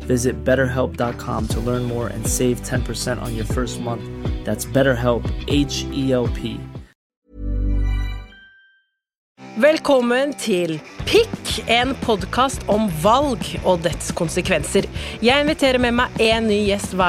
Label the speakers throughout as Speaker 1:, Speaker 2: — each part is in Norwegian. Speaker 1: Visit betterhelp.com to learn more and save 10% on your first month. That's BetterHelp, H E L P.
Speaker 2: Velkommen til Pikk, en podkast om valg og dets konsekvenser. Jeg inviterer med meg én ny gjest hver.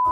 Speaker 3: a-"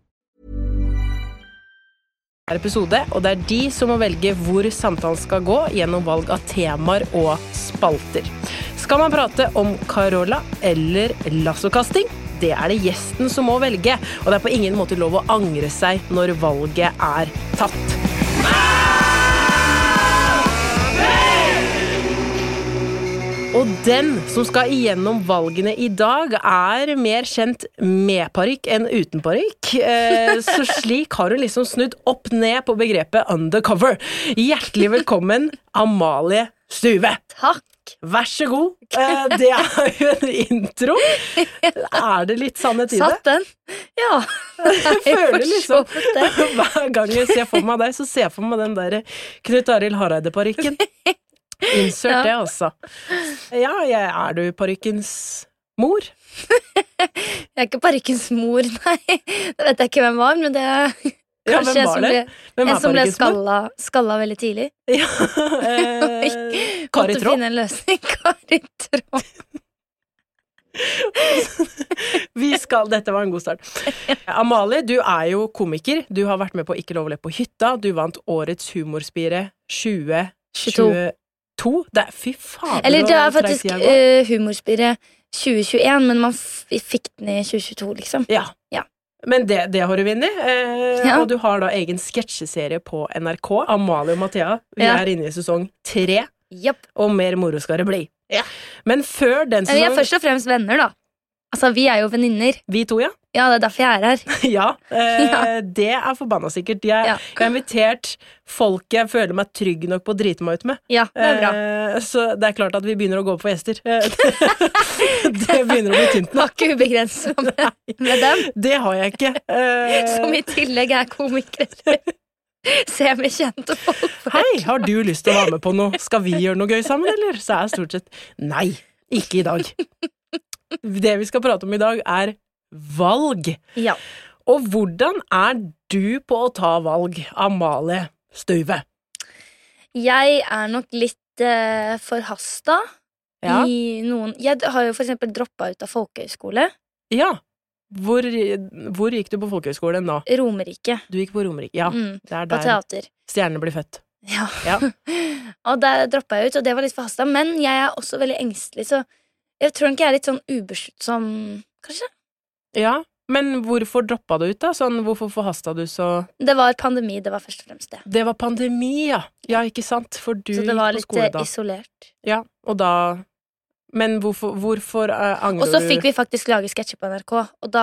Speaker 2: episode, og det er de som må velge hvor samtalen skal gå gjennom valg av temaer og spalter. Skal man prate om Carola eller lassokasting? Det er det gjesten som må velge, og det er på ingen måte lov å angre seg når valget er tatt. Og den som skal igjennom valgene i dag, er mer kjent med parykk enn uten parykk. Eh, Så slik har hun liksom snudd opp ned på begrepet undercover. Hjertelig velkommen, Amalie Stuve.
Speaker 4: Takk.
Speaker 2: Vær så god. Eh, Det er jo en intro. Er det litt sannhet i det?
Speaker 4: Satt den? Ja. Jeg
Speaker 2: føler liksom
Speaker 4: for så vidt det.
Speaker 2: Hver gang jeg ser for meg deg, så ser jeg for meg den der Knut Arild Hareide-parykken. Insert
Speaker 4: Ja.
Speaker 2: det, altså. Ja, jeg er du parykkens mor?
Speaker 4: Jeg er ikke parykkens mor, nei. Det vet jeg ikke hvem var, men det er
Speaker 2: Ja,
Speaker 4: kanskje
Speaker 2: hvem
Speaker 4: jeg
Speaker 2: var
Speaker 4: som
Speaker 2: det?
Speaker 4: ble,
Speaker 2: Hvem
Speaker 4: jeg
Speaker 2: er
Speaker 4: som ble
Speaker 2: parykkens mor?
Speaker 4: skalla, skalla veldig tidlig.
Speaker 2: Ja, eh,
Speaker 4: Oi,
Speaker 2: Kari
Speaker 4: Måtte
Speaker 2: Tråd.
Speaker 4: finne en løsning. Kari Tråd.
Speaker 2: Vi skal, dette var en god start. Amalie, du er jo komiker. Du har vært med på Ikke lov å le på hytta. Du vant Årets humorspire 2022.
Speaker 4: 22.
Speaker 2: Det er, fy fader,
Speaker 4: Eller
Speaker 2: hvor
Speaker 4: det er
Speaker 2: treigt
Speaker 4: faktisk
Speaker 2: jeg går.
Speaker 4: eh, Humorspire 2021, men man f fikk den i 2022, liksom.
Speaker 2: Ja.
Speaker 4: Ja.
Speaker 2: Men det, det har du vunnet. Eh,
Speaker 4: Ja.
Speaker 2: Og du har da egen sketsjeserie på NRK. Amalie og Mathea, vi
Speaker 4: Ja.
Speaker 2: er inne i sesong tre,
Speaker 4: Japp.
Speaker 2: og mer moro skal det bli. Men før den
Speaker 4: Men Vi er
Speaker 2: sesongen
Speaker 4: først og fremst venner, da. Altså, vi er jo venninner.
Speaker 2: Vi to, ja.
Speaker 4: Ja, det er derfor jeg er her.
Speaker 2: ja, eh,
Speaker 4: Ja.
Speaker 2: Det er forbanna sikkert. Jeg,
Speaker 4: Ja.
Speaker 2: jeg har invitert folk jeg føler meg trygg nok på å drite meg ut med.
Speaker 4: Ja, det er bra.
Speaker 2: Eh, så det er klart at vi begynner å gå opp for gjester. Eh, det begynner å bli tynt nå.
Speaker 4: Var ikke ubegrensa med, med dem.
Speaker 2: Det har jeg ikke. Eh,
Speaker 4: Som i tillegg er komiker. Semikjente folk.
Speaker 2: Hei, har du lyst til å være med på noe? Skal vi gjøre noe gøy sammen, eller? Så er stort sett nei, ikke i dag. Det vi skal prate om i dag, er valg.
Speaker 4: Ja.
Speaker 2: Og hvordan er du på å ta valg, Amalie Stuve?
Speaker 4: Jeg er nok litt eh, forhasta
Speaker 2: Ja.
Speaker 4: i noen Jeg har jo for eksempel droppa ut av folkehøyskole.
Speaker 2: ja. Hvor, hvor gikk du på folkehøyskole nå?
Speaker 4: Romerike.
Speaker 2: Du gikk på Romerike. Ja,
Speaker 4: Mm,
Speaker 2: det er
Speaker 4: på
Speaker 2: der
Speaker 4: teater.
Speaker 2: stjernene blir født.
Speaker 4: Ja.
Speaker 2: Ja.
Speaker 4: og der droppa jeg ut, og det var litt forhasta. Men jeg er også veldig engstelig, så jeg tror nok jeg er litt sånn ubesluttsom kanskje.
Speaker 2: Ja, men hvorfor droppa du ut, da? Sånn, hvorfor forhasta du så
Speaker 4: Det var pandemi, det var først og fremst det.
Speaker 2: Det var pandemi, ja! Ja, ikke sant? For du
Speaker 4: Så
Speaker 2: gikk
Speaker 4: det var
Speaker 2: på
Speaker 4: litt
Speaker 2: skole
Speaker 4: eh,
Speaker 2: da.
Speaker 4: isolert.
Speaker 2: Ja, og da Men hvorfor, hvorfor eh, angrer
Speaker 4: Og så
Speaker 2: du
Speaker 4: fikk vi faktisk lage sketsjer på NRK, og da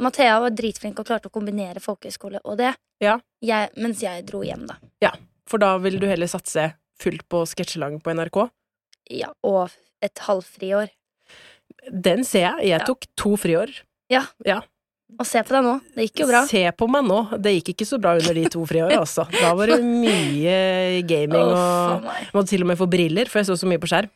Speaker 4: Mathea var dritflink og klarte å kombinere folkehøyskole og det,
Speaker 2: Ja.
Speaker 4: jeg, mens jeg dro hjem, da.
Speaker 2: For da ville du heller satse fullt på sketsjelang på NRK?
Speaker 4: Ja, og et halvfriår.
Speaker 2: Den ser jeg. Jeg
Speaker 4: Ja.
Speaker 2: tok to friår.
Speaker 4: Ja.
Speaker 2: Ja.
Speaker 4: Og se på deg nå, det gikk jo bra.
Speaker 2: Se på meg nå. Det gikk ikke så bra under de to friåra, altså. Da var det mye gaming
Speaker 4: Å,
Speaker 2: og
Speaker 4: faen meg.
Speaker 2: Jeg måtte til og med få briller, for jeg så så mye på skjerm.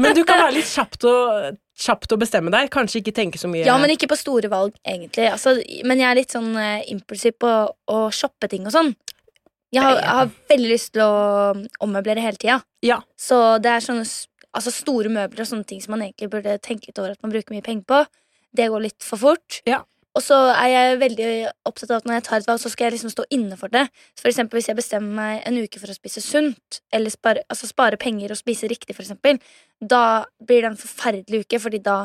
Speaker 2: Men du kan være litt kjapt og, kjapt og bestemme deg. Kanskje ikke tenke så mye.
Speaker 4: Ja, men ikke på store valg, egentlig. Altså, men jeg er litt sånn eh, impulsiv på å shoppe ting og sånn. Jeg har, jeg har veldig lyst til å ommøblere hele tida.
Speaker 2: Ja.
Speaker 4: Så det er sånne s- altså store møbler og sånne ting som man egentlig burde tenke litt over at man bruker mye penger på. Det går litt for fort.
Speaker 2: Ja.
Speaker 4: Og så er jeg veldig opptatt av at når jeg tar et valg, så skal jeg liksom stå inne for det. Så for eksempel hvis jeg bestemmer meg en uke for å spise sunt, eller spare, altså spare penger og spise riktig, for eksempel, da blir det en forferdelig uke, fordi da,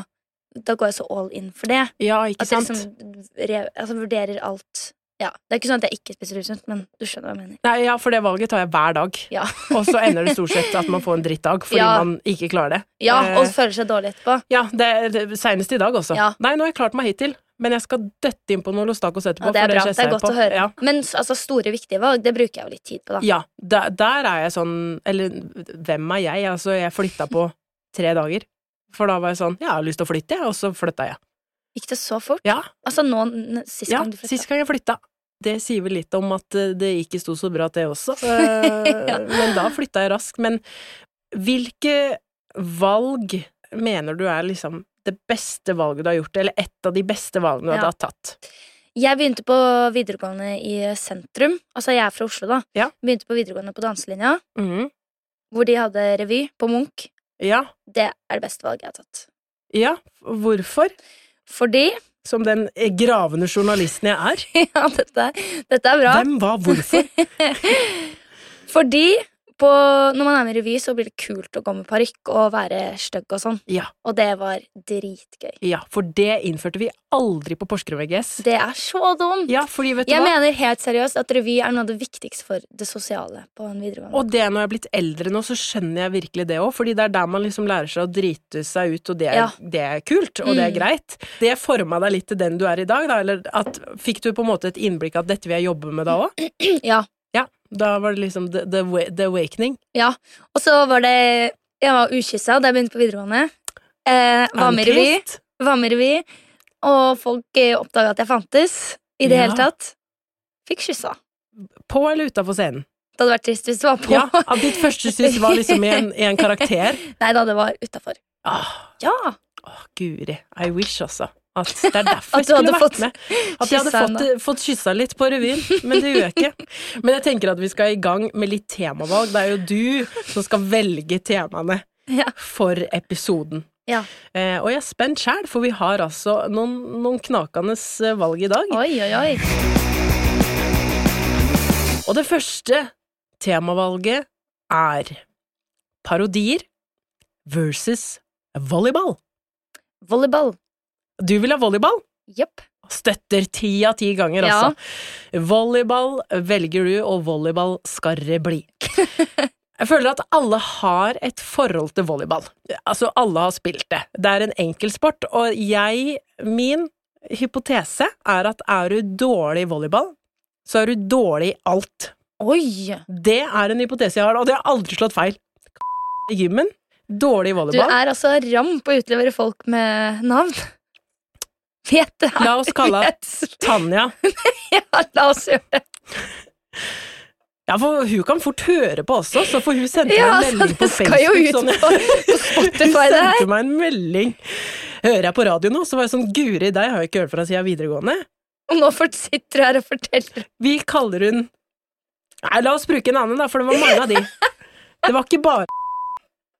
Speaker 4: da går jeg så all in for det.
Speaker 2: Ja, ikke
Speaker 4: At jeg
Speaker 2: sant?
Speaker 4: liksom re, altså vurderer alt. Ja, Det er ikke sånn at jeg ikke spiser usunt, men du skjønner hva jeg mener.
Speaker 2: Nei, ja, for det valget tar jeg hver dag.
Speaker 4: Ja,
Speaker 2: Og så ender det stort sett at man får en drittdag fordi
Speaker 4: Ja.
Speaker 2: man ikke klarer det.
Speaker 4: ja
Speaker 2: Eh,
Speaker 4: Og føler seg dårlig etterpå.
Speaker 2: ja, det, det Senest i dag også.
Speaker 4: Ja.
Speaker 2: Nei, nå har jeg klart meg hittil, men jeg skal døtte inn på noe Lostacos etterpå.
Speaker 4: Ja, det er
Speaker 2: for
Speaker 4: bra.
Speaker 2: skjesser
Speaker 4: Det er
Speaker 2: jeg
Speaker 4: godt
Speaker 2: på.
Speaker 4: å høre.
Speaker 2: Ja.
Speaker 4: Men s- altså, store, viktige valg, det bruker jeg jo litt tid på, da.
Speaker 2: Ja, der, der er jeg sånn Eller hvem er jeg? Altså, jeg flytta på tre dager. For da var jeg sånn Jeg har lyst til å flytte, jeg, og så flytta jeg.
Speaker 4: Gikk det så fort?
Speaker 2: Ja,
Speaker 4: Altså nå, n- sist
Speaker 2: ja
Speaker 4: gang du flytta?
Speaker 2: sist gang jeg flytta. Det sier vel litt om at eh, det ikke sto så bra til også. Eh,
Speaker 4: Ja.
Speaker 2: Men da flytta jeg raskt. Men hvilke valg mener du er liksom det beste valget du har gjort, eller et av de beste valgene du
Speaker 4: Ja.
Speaker 2: har tatt?
Speaker 4: Jeg begynte på videregående i sentrum. Altså, jeg er fra Oslo, da.
Speaker 2: Ja.
Speaker 4: Begynte på videregående på danselinja,
Speaker 2: Mhm.
Speaker 4: hvor de hadde revy på Munch.
Speaker 2: Ja.
Speaker 4: Det er det beste valget jeg har tatt.
Speaker 2: Ja. Hvorfor?
Speaker 4: Fordi
Speaker 2: Som den eh, gravende journalisten jeg er.
Speaker 4: Ja, dette, dette er bra.
Speaker 2: Hvem, hva, hvorfor?
Speaker 4: Fordi på, når man er med i revy, så blir det kult å gå med parykk og være stygg og sånn.
Speaker 2: Ja.
Speaker 4: Og det var dritgøy.
Speaker 2: Ja, for det innførte vi aldri på Porsgrunn VGS.
Speaker 4: Det er så dumt!
Speaker 2: Ja, fordi vet du
Speaker 4: Jeg
Speaker 2: hva?
Speaker 4: mener helt seriøst at revy er noe av det viktigste for det sosiale på en videregående.
Speaker 2: Og det når jeg er blitt eldre nå, så skjønner jeg virkelig det òg, fordi det er der man liksom lærer seg å drite seg ut, og det er,
Speaker 4: Ja.
Speaker 2: det er kult, og det er
Speaker 4: Mm.
Speaker 2: greit. Det forma deg litt til den du er i dag, da, eller at fikk du på en måte et innblikk at dette vil jeg jobbe med da òg?
Speaker 4: ja.
Speaker 2: Ja, da var det liksom the, the, wa- the awakening.
Speaker 4: ja. Og så var det Jeg var ukyssa da jeg begynte på videregående. Eh, var med i revy.
Speaker 2: Ankrist.
Speaker 4: Var med i revy. Og folk eh, oppdaga at jeg fantes i det
Speaker 2: Ja.
Speaker 4: hele tatt. Fikk kyssa.
Speaker 2: På eller utafor scenen?
Speaker 4: Det hadde vært trist hvis det var på.
Speaker 2: Ja, at ditt første syns var liksom i en, i en karakter.
Speaker 4: Nei da, det var utafor.
Speaker 2: Ah,
Speaker 4: Ja.
Speaker 2: Åh, guri. I wish, altså. At det er derfor jeg
Speaker 4: At du
Speaker 2: skulle
Speaker 4: hadde
Speaker 2: vært
Speaker 4: fått
Speaker 2: med. At jeg hadde
Speaker 4: kyssa
Speaker 2: fått, eh, fått kyssa litt på revyen, men det gjør jeg ikke. Men jeg tenker at vi skal i gang med litt temavalg. Det er jo du som skal velge temaene
Speaker 4: Ja.
Speaker 2: for episoden.
Speaker 4: Ja.
Speaker 2: Eh, og jeg er spent sjæl, for vi har altså noen, noen knakende eh, valg i dag.
Speaker 4: Oi, oi, oi.
Speaker 2: Og det første temavalget er parodier versus volleyball.
Speaker 4: Volleyball.
Speaker 2: Du vil ha volleyball?
Speaker 4: Jepp.
Speaker 2: Støtter ti av ti ganger,
Speaker 4: Ja.
Speaker 2: altså. Volleyball velger du, og volleyball skal det bli. Jeg føler at alle har et forhold til volleyball. Altså, alle har spilt det. Det er en enkelsport, og jeg Min hypotese er at er du dårlig i volleyball, så er du dårlig i alt.
Speaker 4: Oi!
Speaker 2: Det er en hypotese jeg har, og det har aldri slått feil. I gymmen, dårlig i
Speaker 4: Du
Speaker 2: volleyball.
Speaker 4: er altså ram på å utlevere folk med navn. Vet det her.
Speaker 2: La oss kalle henne Tanja.
Speaker 4: Ja, la oss gjøre det.
Speaker 2: Ja, for hun kan fort høre på også, så får hun sendte
Speaker 4: Ja,
Speaker 2: meg en
Speaker 4: altså,
Speaker 2: melding på
Speaker 4: det skal jo
Speaker 2: Facebook.
Speaker 4: ut
Speaker 2: sånn-
Speaker 4: på, på Spotify,
Speaker 2: hun
Speaker 4: det her.
Speaker 2: sendte meg en melding. Hører jeg på radio nå, så var jeg sånn Guri, deg har jeg ikke hørt fra siden videregående.
Speaker 4: Og nå fort- sitter du her og forteller.
Speaker 2: Vi kaller hun Nei, la oss bruke en annen, da, for det var mange av de. Det var ikke bare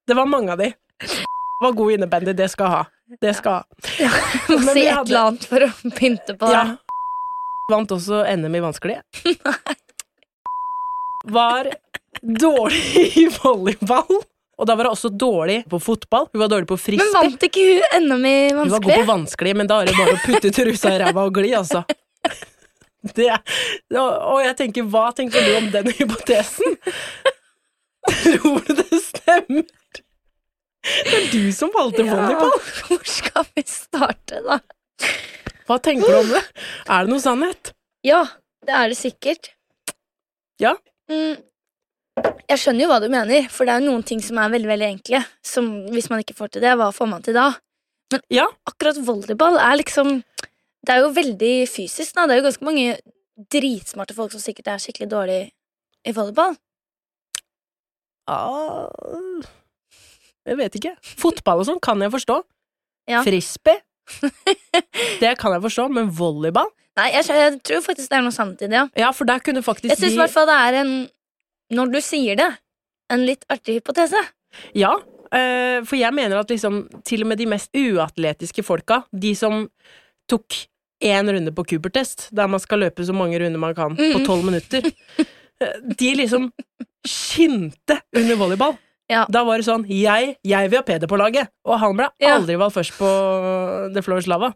Speaker 2: Det var mange av de. Det var god innebandy, det skal jeg ha. Det skal jeg ha.
Speaker 4: Du må
Speaker 2: Men
Speaker 4: si
Speaker 2: vi
Speaker 4: et
Speaker 2: hadde-
Speaker 4: eller annet for å pynte på det.
Speaker 2: Ja. Vant også NM i vanskelig. Var dårlig i volleyball. Og da var hun også dårlig på fotball. Hun var dårlig på
Speaker 4: Men
Speaker 2: frisbee.
Speaker 4: vant ikke hun NM i
Speaker 2: Hun var god på
Speaker 4: vanskelig?
Speaker 2: vanskelig, men da er det bare å putte ut rusa i ræva og gli, altså. Det, og jeg tenker, hva tenker du om den hypotesen? Tror du det stemmer? Det er du som valgte
Speaker 4: Ja.
Speaker 2: volleyball.
Speaker 4: Hvor skal vi starte, da?
Speaker 2: Hva tenker du om det? Er det noe sannhet?
Speaker 4: Ja, det er det sikkert.
Speaker 2: Ja.
Speaker 4: Mm. Jeg skjønner jo hva du mener, for det er jo noen ting som er veldig veldig enkle. Som hvis man ikke får til det, hva får man til da? Men
Speaker 2: Ja.
Speaker 4: akkurat volleyball er liksom Det er jo veldig fysisk. Da. Det er jo ganske mange dritsmarte folk som sikkert er skikkelig dårlig i volleyball.
Speaker 2: Ah, Jeg vet ikke. Fotball og sånn kan jeg forstå.
Speaker 4: Ja.
Speaker 2: Frisbee. Det kan jeg forstå, men volleyball?
Speaker 4: Nei, jeg, skjø- jeg tror faktisk det er noe sant i det. Ja.
Speaker 2: Ja, for der kunne faktisk
Speaker 4: Jeg syns i
Speaker 2: de
Speaker 4: hvert fall det er en Når du sier det, en litt artig hypotese.
Speaker 2: Ja, eh, for jeg mener at liksom til og med de mest uatletiske folka, de som tok én runde på Cooper-test, der man skal løpe så mange runder man kan på
Speaker 4: Mm.
Speaker 2: tolv minutter, eh, de liksom skinte under volleyball.
Speaker 4: Ja.
Speaker 2: Da var det sånn Jeg, jeg vil ha Peder på laget! Og han ble
Speaker 4: Ja.
Speaker 2: aldri valgt først på The Floors Lava.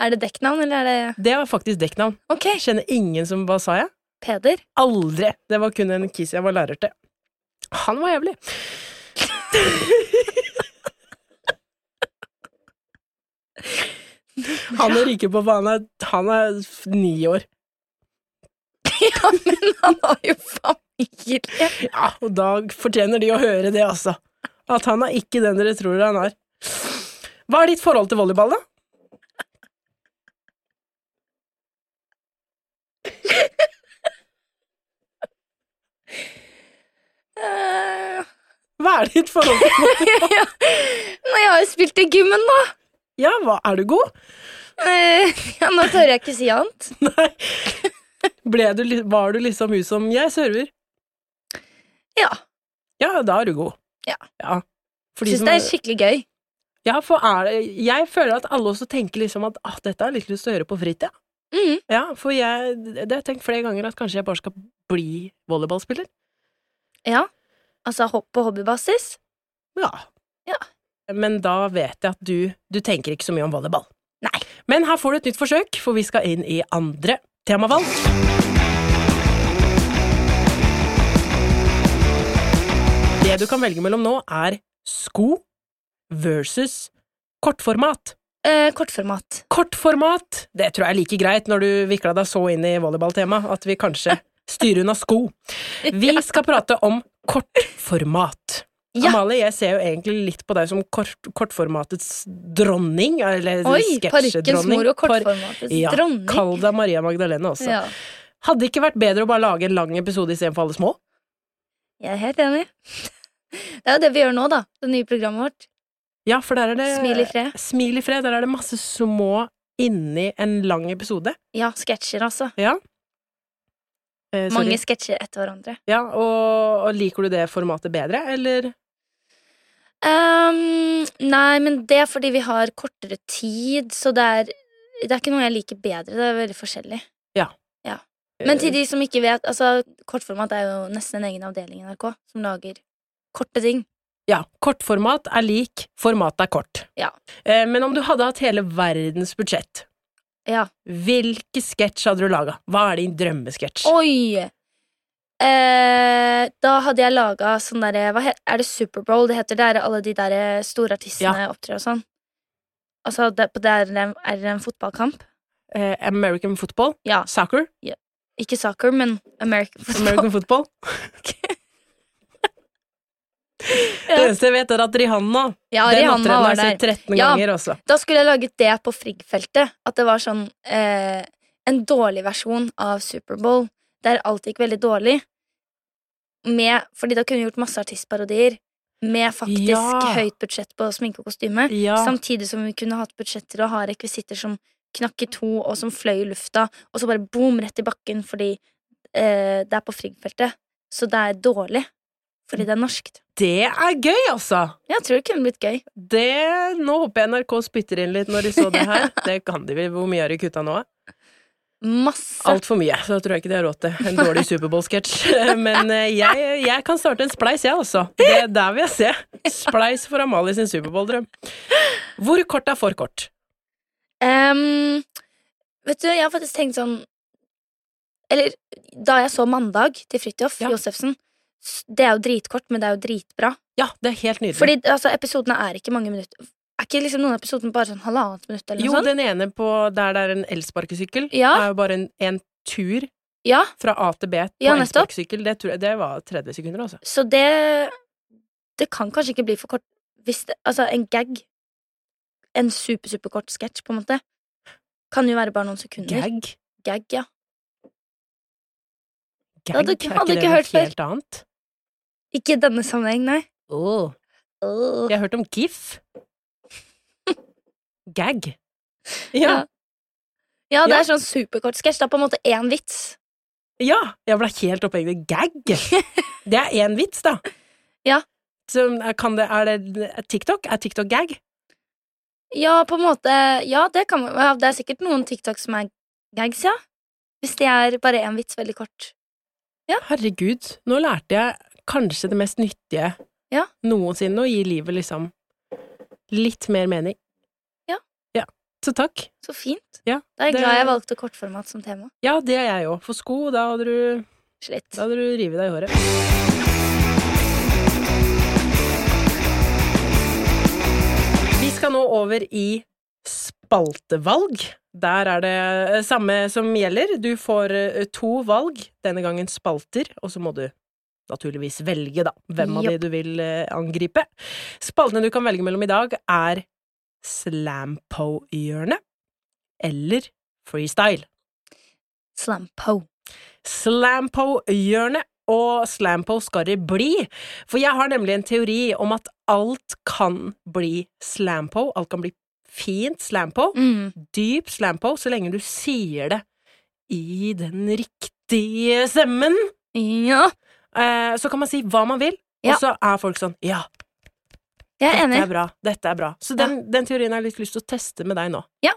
Speaker 4: Er det dekknavn, eller er det
Speaker 2: Det var faktisk dekknavn.
Speaker 4: Ok,
Speaker 2: Jeg kjenner ingen som Hva sa jeg?
Speaker 4: Peder.
Speaker 2: Aldri! Det var kun en kis jeg var lærer til. Han var jævlig. Han er ryker på, for han er, han er f- ni år.
Speaker 4: Ja, men han har jo familie.
Speaker 2: Ja, og da fortjener de å høre det, altså. At han er ikke den dere tror han er. Hva er ditt forhold til volleyball, da?
Speaker 4: Eh,
Speaker 2: Hva er ditt forhold til volleyball?
Speaker 4: ja. Nå, jeg har jo spilt i gymmen, da.
Speaker 2: Ja, hva, er du god?
Speaker 4: Eh, ja, nå tør jeg ikke si annet.
Speaker 2: Nei. Ble du, li- var du liksom hun som Jeg server.
Speaker 4: Ja.
Speaker 2: Ja, da er du god.
Speaker 4: Ja.
Speaker 2: For de
Speaker 4: Syns
Speaker 2: som-
Speaker 4: det er skikkelig gøy.
Speaker 2: Ja, for er det, jeg føler at alle også tenker liksom at ah, dette har jeg litt lyst til å høre på fritida.
Speaker 4: Mhm.
Speaker 2: Ja, for jeg, det har jeg tenkt flere ganger at kanskje jeg bare skal bli volleyballspiller.
Speaker 4: Ja. Altså hopp på hobbybasis.
Speaker 2: Ja.
Speaker 4: Ja.
Speaker 2: Men da vet jeg at du, du tenker ikke så mye om volleyball.
Speaker 4: Nei.
Speaker 2: Men her får du et nytt forsøk, for vi skal inn i andre temavalg. Det du kan velge mellom nå, er sko versus kortformat.
Speaker 4: Eh, kortformat.
Speaker 2: Kortformat, det tror jeg er like greit når du vikla deg så inn i volleyballtema at vi kanskje styrer unna sko. Vi skal prate om kortformat.
Speaker 4: Ja.
Speaker 2: Amalie, jeg ser jo egentlig litt på deg som kort, kortformatets dronning, eller
Speaker 4: Oi! Parkens
Speaker 2: sketsjedronning.
Speaker 4: mor og
Speaker 2: Par-
Speaker 4: kortformatets
Speaker 2: ja,
Speaker 4: dronning.
Speaker 2: Kall deg Maria Magdalene også.
Speaker 4: Ja.
Speaker 2: Hadde ikke vært bedre å bare lage en lang episode istedenfor alle små?
Speaker 4: Jeg er helt enig. Det er jo det vi gjør nå, da. Det nye programmet vårt.
Speaker 2: Ja, for der er det
Speaker 4: Smil i fred.
Speaker 2: Smil i fred, der er det masse små inni en lang episode.
Speaker 4: Ja, sketsjer, altså.
Speaker 2: Ja. Eh, sorry.
Speaker 4: Mange sketsjer etter hverandre.
Speaker 2: Ja, og, og liker du det formatet bedre, eller?
Speaker 4: Ehm, nei, men det er fordi vi har kortere tid, så det er, det er ikke noe jeg liker bedre. Det er veldig forskjellig. Men til de som ikke vet, altså kortformat er jo nesten en egen avdeling i NRK som lager korte ting.
Speaker 2: Ja, kortformat er lik, formatet er kort.
Speaker 4: Ja.
Speaker 2: Eh, men om du hadde hatt hele verdens budsjett,
Speaker 4: Ja.
Speaker 2: hvilke sketsj hadde du laga? Hva er din drømmesketsj?
Speaker 4: Oi! Eh, da hadde jeg laga sånn derre hva he- Er det Superbowl det heter? Der alle de derre store artistene opptrer og sånn. Altså, det, på der er det en fotballkamp.
Speaker 2: Eh, American football?
Speaker 4: Ja.
Speaker 2: Soccer?
Speaker 4: Ikke soccer, men American football.
Speaker 2: American football? Det
Speaker 4: Ja.
Speaker 2: eneste jeg vet, er at Rihanna
Speaker 4: Ja,
Speaker 2: Den
Speaker 4: Rihanna
Speaker 2: opptredenen har
Speaker 4: var
Speaker 2: jeg sett
Speaker 4: der.
Speaker 2: 13
Speaker 4: Ja.
Speaker 2: ganger også.
Speaker 4: Da skulle jeg laget det på Frigg-feltet. At det var sånn eh, En dårlig versjon av Superbowl, der alt gikk veldig dårlig. Med, fordi da kunne vi gjort masse artistparodier med faktisk
Speaker 2: Ja.
Speaker 4: høyt budsjett på sminke og kostyme.
Speaker 2: Ja.
Speaker 4: Samtidig som vi kunne hatt budsjetter og ha rekvisitter som knakk i to, og som fløy i lufta, og så bare boom, rett i bakken fordi eh, det er på Frigg-feltet. Så det er dårlig. Fordi det er norskt.
Speaker 2: Det er gøy, altså!
Speaker 4: Jeg tror det kunne blitt gøy.
Speaker 2: Det, nå håper jeg NRK spytter inn litt når de så det her. Det kan de vel. Hvor mye har de kutta nå?
Speaker 4: Masse.
Speaker 2: Altfor mye, så da tror jeg ikke de har råd til en dårlig Superbowl-sketsj. Men eh, jeg, jeg kan starte en spleis, jeg, altså. Det, der vil jeg se. Spleis for Amalie sin Superbowl-drøm. Hvor kort er for kort?
Speaker 4: Ehm, vet du, jeg har faktisk tenkt sånn Eller da jeg så Mandag til Fridtjof
Speaker 2: Ja.
Speaker 4: Josefsen s- Det er jo dritkort, men det er jo dritbra.
Speaker 2: Ja, det er helt nydelig.
Speaker 4: Fordi altså, episodene er ikke mange minutter. Er ikke liksom noen av episodene bare sånn halvannet minutt? eller noe
Speaker 2: jo,
Speaker 4: sånt?
Speaker 2: den ene på der det er en elsparkesykkel,
Speaker 4: Ja.
Speaker 2: er jo bare en, en tur
Speaker 4: Ja,
Speaker 2: fra A til B på
Speaker 4: Ja, nettopp.
Speaker 2: elsparkesykkel. Det, tror jeg- det var 30 sekunder, altså.
Speaker 4: Så det Det kan kanskje ikke bli for kort hvis det, Altså, en gag En super, superkort sketsj, på en måte, kan jo være bare noen sekunder.
Speaker 2: Gag.
Speaker 4: Gag, ja.
Speaker 2: Gag
Speaker 4: hadde ikke- hadde ikke hørt før.
Speaker 2: helt annet?
Speaker 4: Ikke i denne sammenheng, nei.
Speaker 2: Åh.
Speaker 4: Åh.
Speaker 2: Jeg har hørt om gif. Gag.
Speaker 4: Ja.
Speaker 2: Ja.
Speaker 4: Ja, det
Speaker 2: Ja.
Speaker 4: er sånn superkort sketsj. Det er på en måte én vits.
Speaker 2: ja. Jeg ble helt opphengt i gag. Det er én vits, da.
Speaker 4: Ja.
Speaker 2: Så kan det, er det er TikTok? Er TikTok gag?
Speaker 4: Ja, på en måte Ja, det, kan, man- ja, det er sikkert noen TikTok som er gags, ja. Hvis det er bare én vits veldig kort.
Speaker 2: Herregud, nå lærte jeg kanskje det mest nyttige
Speaker 4: Ja.
Speaker 2: noensinne, å gi livet liksom litt mer mening.
Speaker 4: Ja.
Speaker 2: ja. Så takk.
Speaker 4: Så fint.
Speaker 2: Ja,
Speaker 4: Da er jeg
Speaker 2: det-
Speaker 4: glad jeg valgte kortformat som tema.
Speaker 2: Ja, det er jeg òg. For sko, da hadde du,
Speaker 4: Slitt.
Speaker 2: da hadde du revet deg i håret. Vi skal nå over i spaltevalg. Der er det eh, samme som gjelder. Du får eh, to valg, denne gangen spalter, og så må du naturligvis velge, da, hvem av de du vil eh, angripe. Spaltene du kan velge mellom i dag, er Slampo-hjørnet eller Freestyle.
Speaker 4: Slampo.
Speaker 2: Slampo-hjørnet. Og Slampo skal det bli, for jeg har nemlig en teori om at alt kan bli Slampo. Alt kan bli fint Slampo,
Speaker 4: Mm.
Speaker 2: dyp Slampo, så lenge du sier det i den riktige stemmen.
Speaker 4: Ja,
Speaker 2: Eh, Så kan man si hva man vil,
Speaker 4: Ja.
Speaker 2: og så er folk sånn ja,
Speaker 4: jeg er
Speaker 2: dette er
Speaker 4: enig.
Speaker 2: bra, dette er bra. Så den, den teorien har jeg litt lyst til å teste med deg nå.
Speaker 4: Ja.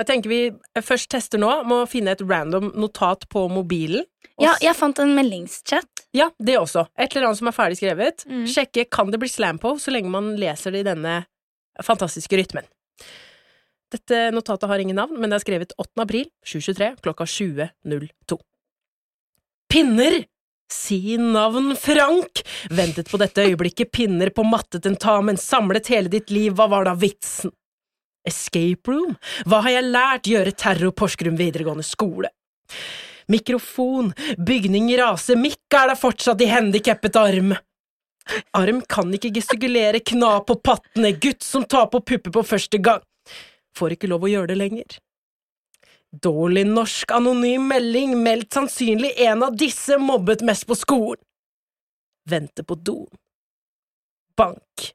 Speaker 2: Jeg tenker vi først tester nå, må finne et random notat på mobilen. og
Speaker 4: Ja, jeg fant en meldingschat.
Speaker 2: Ja, det også. Et eller annet som er ferdig skrevet.
Speaker 4: Mm.
Speaker 2: Sjekke kan det bli slam på, så lenge man leser det i denne fantastiske rytmen. Dette notatet har ingen navn, men det er skrevet 8. april 2023 klokka 20.02. Pinner! Si navn Frank! Ventet på dette øyeblikket, pinner på mattetentamen, samlet hele ditt liv, hva var da vitsen? Escape room? Hva har jeg lært? Gjøre terror Porsgrunn videregående skole. Mikrofon, bygning raser, Mikk er da fortsatt i handikappet arm. Arm kan ikke gestikulere, kna på pattene, gutt som tar på pupper på første gang. Får ikke lov å gjøre det lenger. Dårlig norsk, anonym melding, meldt sannsynlig en av disse, mobbet mest på skolen. Vente på doen. Bank.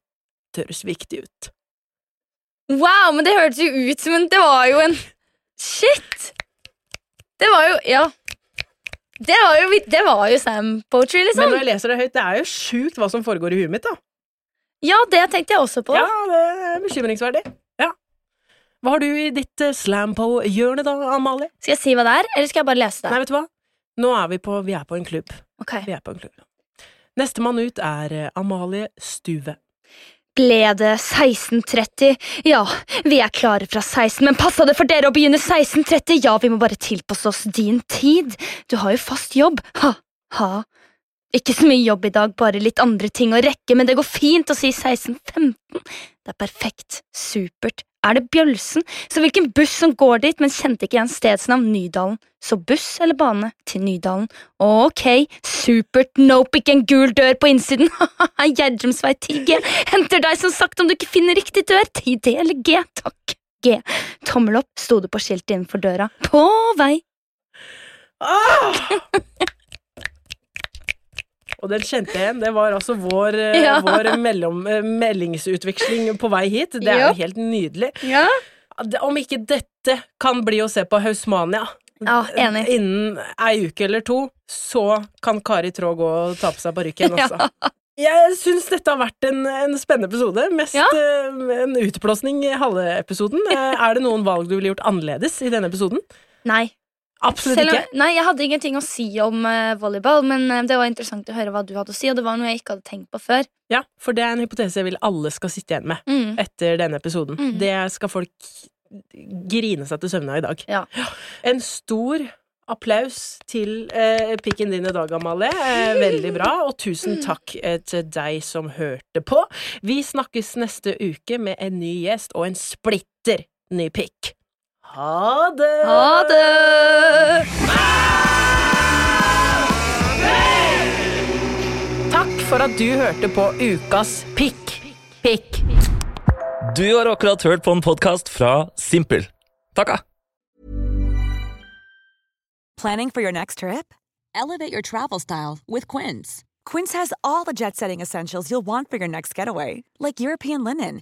Speaker 2: Det høres viktig ut.
Speaker 4: Wow, men det hørtes jo ut som en Det var jo en Shit! Det var jo Ja. Det var jo, det var jo Sam Poetry, liksom.
Speaker 2: Men når jeg leser det høyt, det er jo sjukt hva som foregår i huet mitt, da.
Speaker 4: Ja, det tenkte jeg også på.
Speaker 2: Ja, det er bekymringsverdig. Ja. Hva har du i ditt eh, slam på hjørnet da, Amalie?
Speaker 4: Skal jeg si hva det er, eller skal jeg bare lese det?
Speaker 2: Nei, vet du hva? Nå er vi på Vi er på en klubb.
Speaker 4: Ok.
Speaker 2: Vi er på en klubb. Nestemann ut er eh, Amalie Stuve.
Speaker 4: Ble det 16.30? Ja, vi er klare fra 16, men passa det for dere å begynne 16.30? Ja, vi må bare tilpasse oss din tid. Du har jo fast jobb. Ha, ha. Ikke så mye jobb i dag, bare litt andre ting å rekke, men det går fint å si 16.15. Det er perfekt. Supert. Er det Bjølsen? Så hvilken buss som går dit, men kjente ikke igjen stedsnavn Nydalen. Så buss eller bane til Nydalen. Ok, supert. Nope, ikke en gul dør på innsiden. Ha-ha, Gjerrumsvei 10G. Henter deg som sagt om du ikke finner riktig dør. 10D eller G, takk. G. Tommel opp, sto det på skiltet innenfor døra. På vei.
Speaker 2: Ah! Og den kjente jeg igjen. Det var altså vår, eh,
Speaker 4: Ja.
Speaker 2: vår mellom, eh, meldingsutveksling på vei hit. Det er
Speaker 4: Ja.
Speaker 2: jo helt nydelig.
Speaker 4: Ja.
Speaker 2: Om ikke dette kan bli å se på Hausmania
Speaker 4: Ja, enig.
Speaker 2: innen ei uke eller to, så kan Kari Traa gå og ta på seg parykken, altså. Jeg syns dette har vært en, en spennende episode. Mest
Speaker 4: Ja.
Speaker 2: eh, en utblåsning i halve episoden. Eh, er det noen valg du ville gjort annerledes i denne episoden?
Speaker 4: Nei.
Speaker 2: Absolutt
Speaker 4: Selv om,
Speaker 2: ikke.
Speaker 4: nei, Jeg hadde ingenting å si om eh, volleyball, men eh, det var interessant å høre hva du hadde å si. Og det var noe jeg ikke hadde tenkt på før.
Speaker 2: Ja, for det er en hypotese jeg vil alle skal sitte igjen med
Speaker 4: Mm.
Speaker 2: etter denne episoden.
Speaker 4: Mm.
Speaker 2: Det skal folk grine seg til søvne av i dag.
Speaker 4: Ja.
Speaker 2: En stor applaus til eh, pikken din i dag, Amalie. Eh, veldig bra. Og tusen takk eh, til deg som hørte på. Vi snakkes neste uke med en ny gjest og en splitter ny pikk. Ha det!
Speaker 4: Ha det!
Speaker 2: Takk for at du hørte på Ukas pikk. Pikk.
Speaker 5: Du har akkurat hørt på en podkast fra Simpel. Takka!
Speaker 6: Planning for your next trip?
Speaker 7: Elevate your travel style with Quince.
Speaker 6: Quince has all the jet setting essentials you'll want for your next getaway, like European linen,